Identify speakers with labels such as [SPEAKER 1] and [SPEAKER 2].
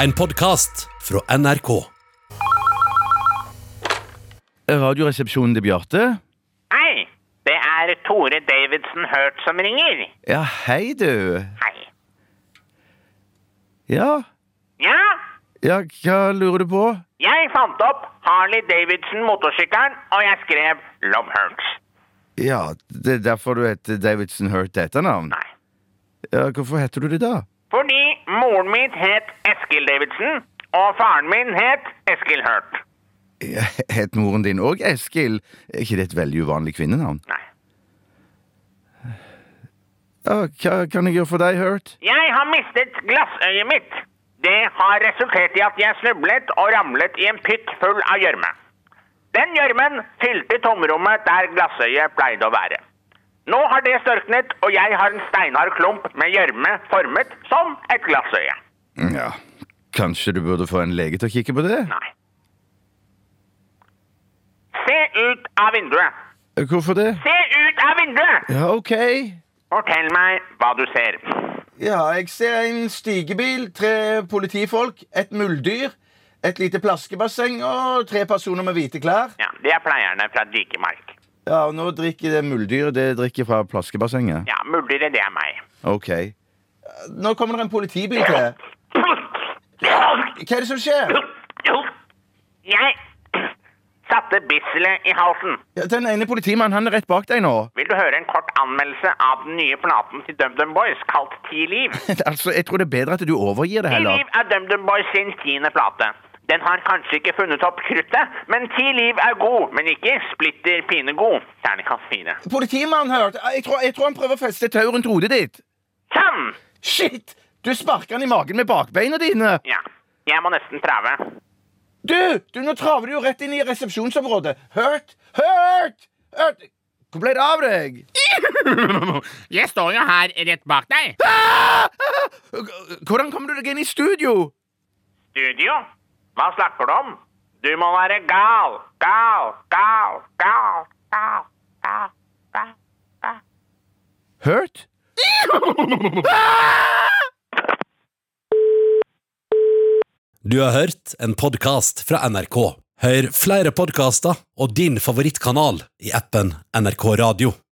[SPEAKER 1] En podcast fra NRK
[SPEAKER 2] Radioresepsjonen til Bjarte.
[SPEAKER 3] Hei, det er Tore Davidsen Hurt som ringer.
[SPEAKER 2] Ja, hei, du.
[SPEAKER 3] Hei.
[SPEAKER 2] Ja.
[SPEAKER 3] Ja,
[SPEAKER 2] ja, hva lurer du på?
[SPEAKER 3] jeg fant opp Harley Davidson motorsykkelen, og jeg skrev Love Hurts.
[SPEAKER 2] Ja, det er derfor du heter Davidson Hurt til etternavn.
[SPEAKER 3] Nei.
[SPEAKER 2] Ja, hvorfor heter du det da?
[SPEAKER 3] Fordi moren min het Eskil Davidsen, og faren min het Eskil Hurt.
[SPEAKER 2] Ja, Het moren din òg Eskil? Er ikke det et veldig uvanlig kvinnenavn?
[SPEAKER 3] Nei.
[SPEAKER 2] Ja, hva kan jeg gjøre for deg, Hurt?
[SPEAKER 3] Jeg har mistet glassøyet mitt. Det har resultert i at jeg snublet og ramlet i en pytt full av gjørme. Den gjørmen fylte tomrommet der glassøyet pleide å være. Nå har det størknet, og jeg har en steinhard klump med gjørme formet som et glassøye.
[SPEAKER 2] Ja, kanskje du burde få en lege til å kikke på det?
[SPEAKER 3] Nei. Se ut av vinduet!
[SPEAKER 2] Hvorfor det?
[SPEAKER 3] Se ut av vinduet!
[SPEAKER 2] Ja, ok.
[SPEAKER 3] Fortell meg hva du ser.
[SPEAKER 4] Ja, jeg ser en stigebil, tre politifolk, et muldyr, et lite plaskebasseng og tre personer med hvite klær.
[SPEAKER 3] Ja, Det er pleierne fra Dikemark.
[SPEAKER 4] Ja, og nå
[SPEAKER 2] Nå drikker det muldyret det drikker fra plaskebassenget.
[SPEAKER 3] Ja, muldere, det er meg.
[SPEAKER 2] Ok.
[SPEAKER 4] Nå kommer det en politibil til. Hva er det som skjer?
[SPEAKER 3] Jeg satte bisselet i halsen.
[SPEAKER 2] Ja, den ene politimannen han er rett bak deg nå.
[SPEAKER 3] Vil du høre en kort anmeldelse av den nye platen til DumDum Boys kalt Ti liv?
[SPEAKER 2] altså, Jeg tror det er bedre at du overgir det
[SPEAKER 3] Ti
[SPEAKER 2] heller.
[SPEAKER 3] liv er DumDum Boys sin tiende plate. Den har kanskje ikke funnet opp kruttet, men Ti liv er god, men ikke splitter pinegod. Terningkast fire.
[SPEAKER 4] Politimannen hørte jeg tror, jeg tror han prøver å feste
[SPEAKER 2] Det tau rundt hodet ditt.
[SPEAKER 3] Sånn!
[SPEAKER 2] Shit! Du sparker han i magen med bakbeina dine.
[SPEAKER 3] Ja, jeg må nesten prøve.
[SPEAKER 4] Du! du nå traver du jo rett inn i resepsjonsområdet. Hørt! Hørt! Hørt!
[SPEAKER 2] Hvor ble det av deg?
[SPEAKER 5] Jeg står jo her rett bak deg.
[SPEAKER 2] Ah! Hvordan kommer du deg inn i studio?
[SPEAKER 3] Studio? Hva snakker du om? Du må være gal, gal, gal, gal, gal, gal, gal, gal.
[SPEAKER 2] Hurt?
[SPEAKER 1] Du har hørt en podcast fra NRK Hør flere podcaster og din favorittkanal i appen NRK Radio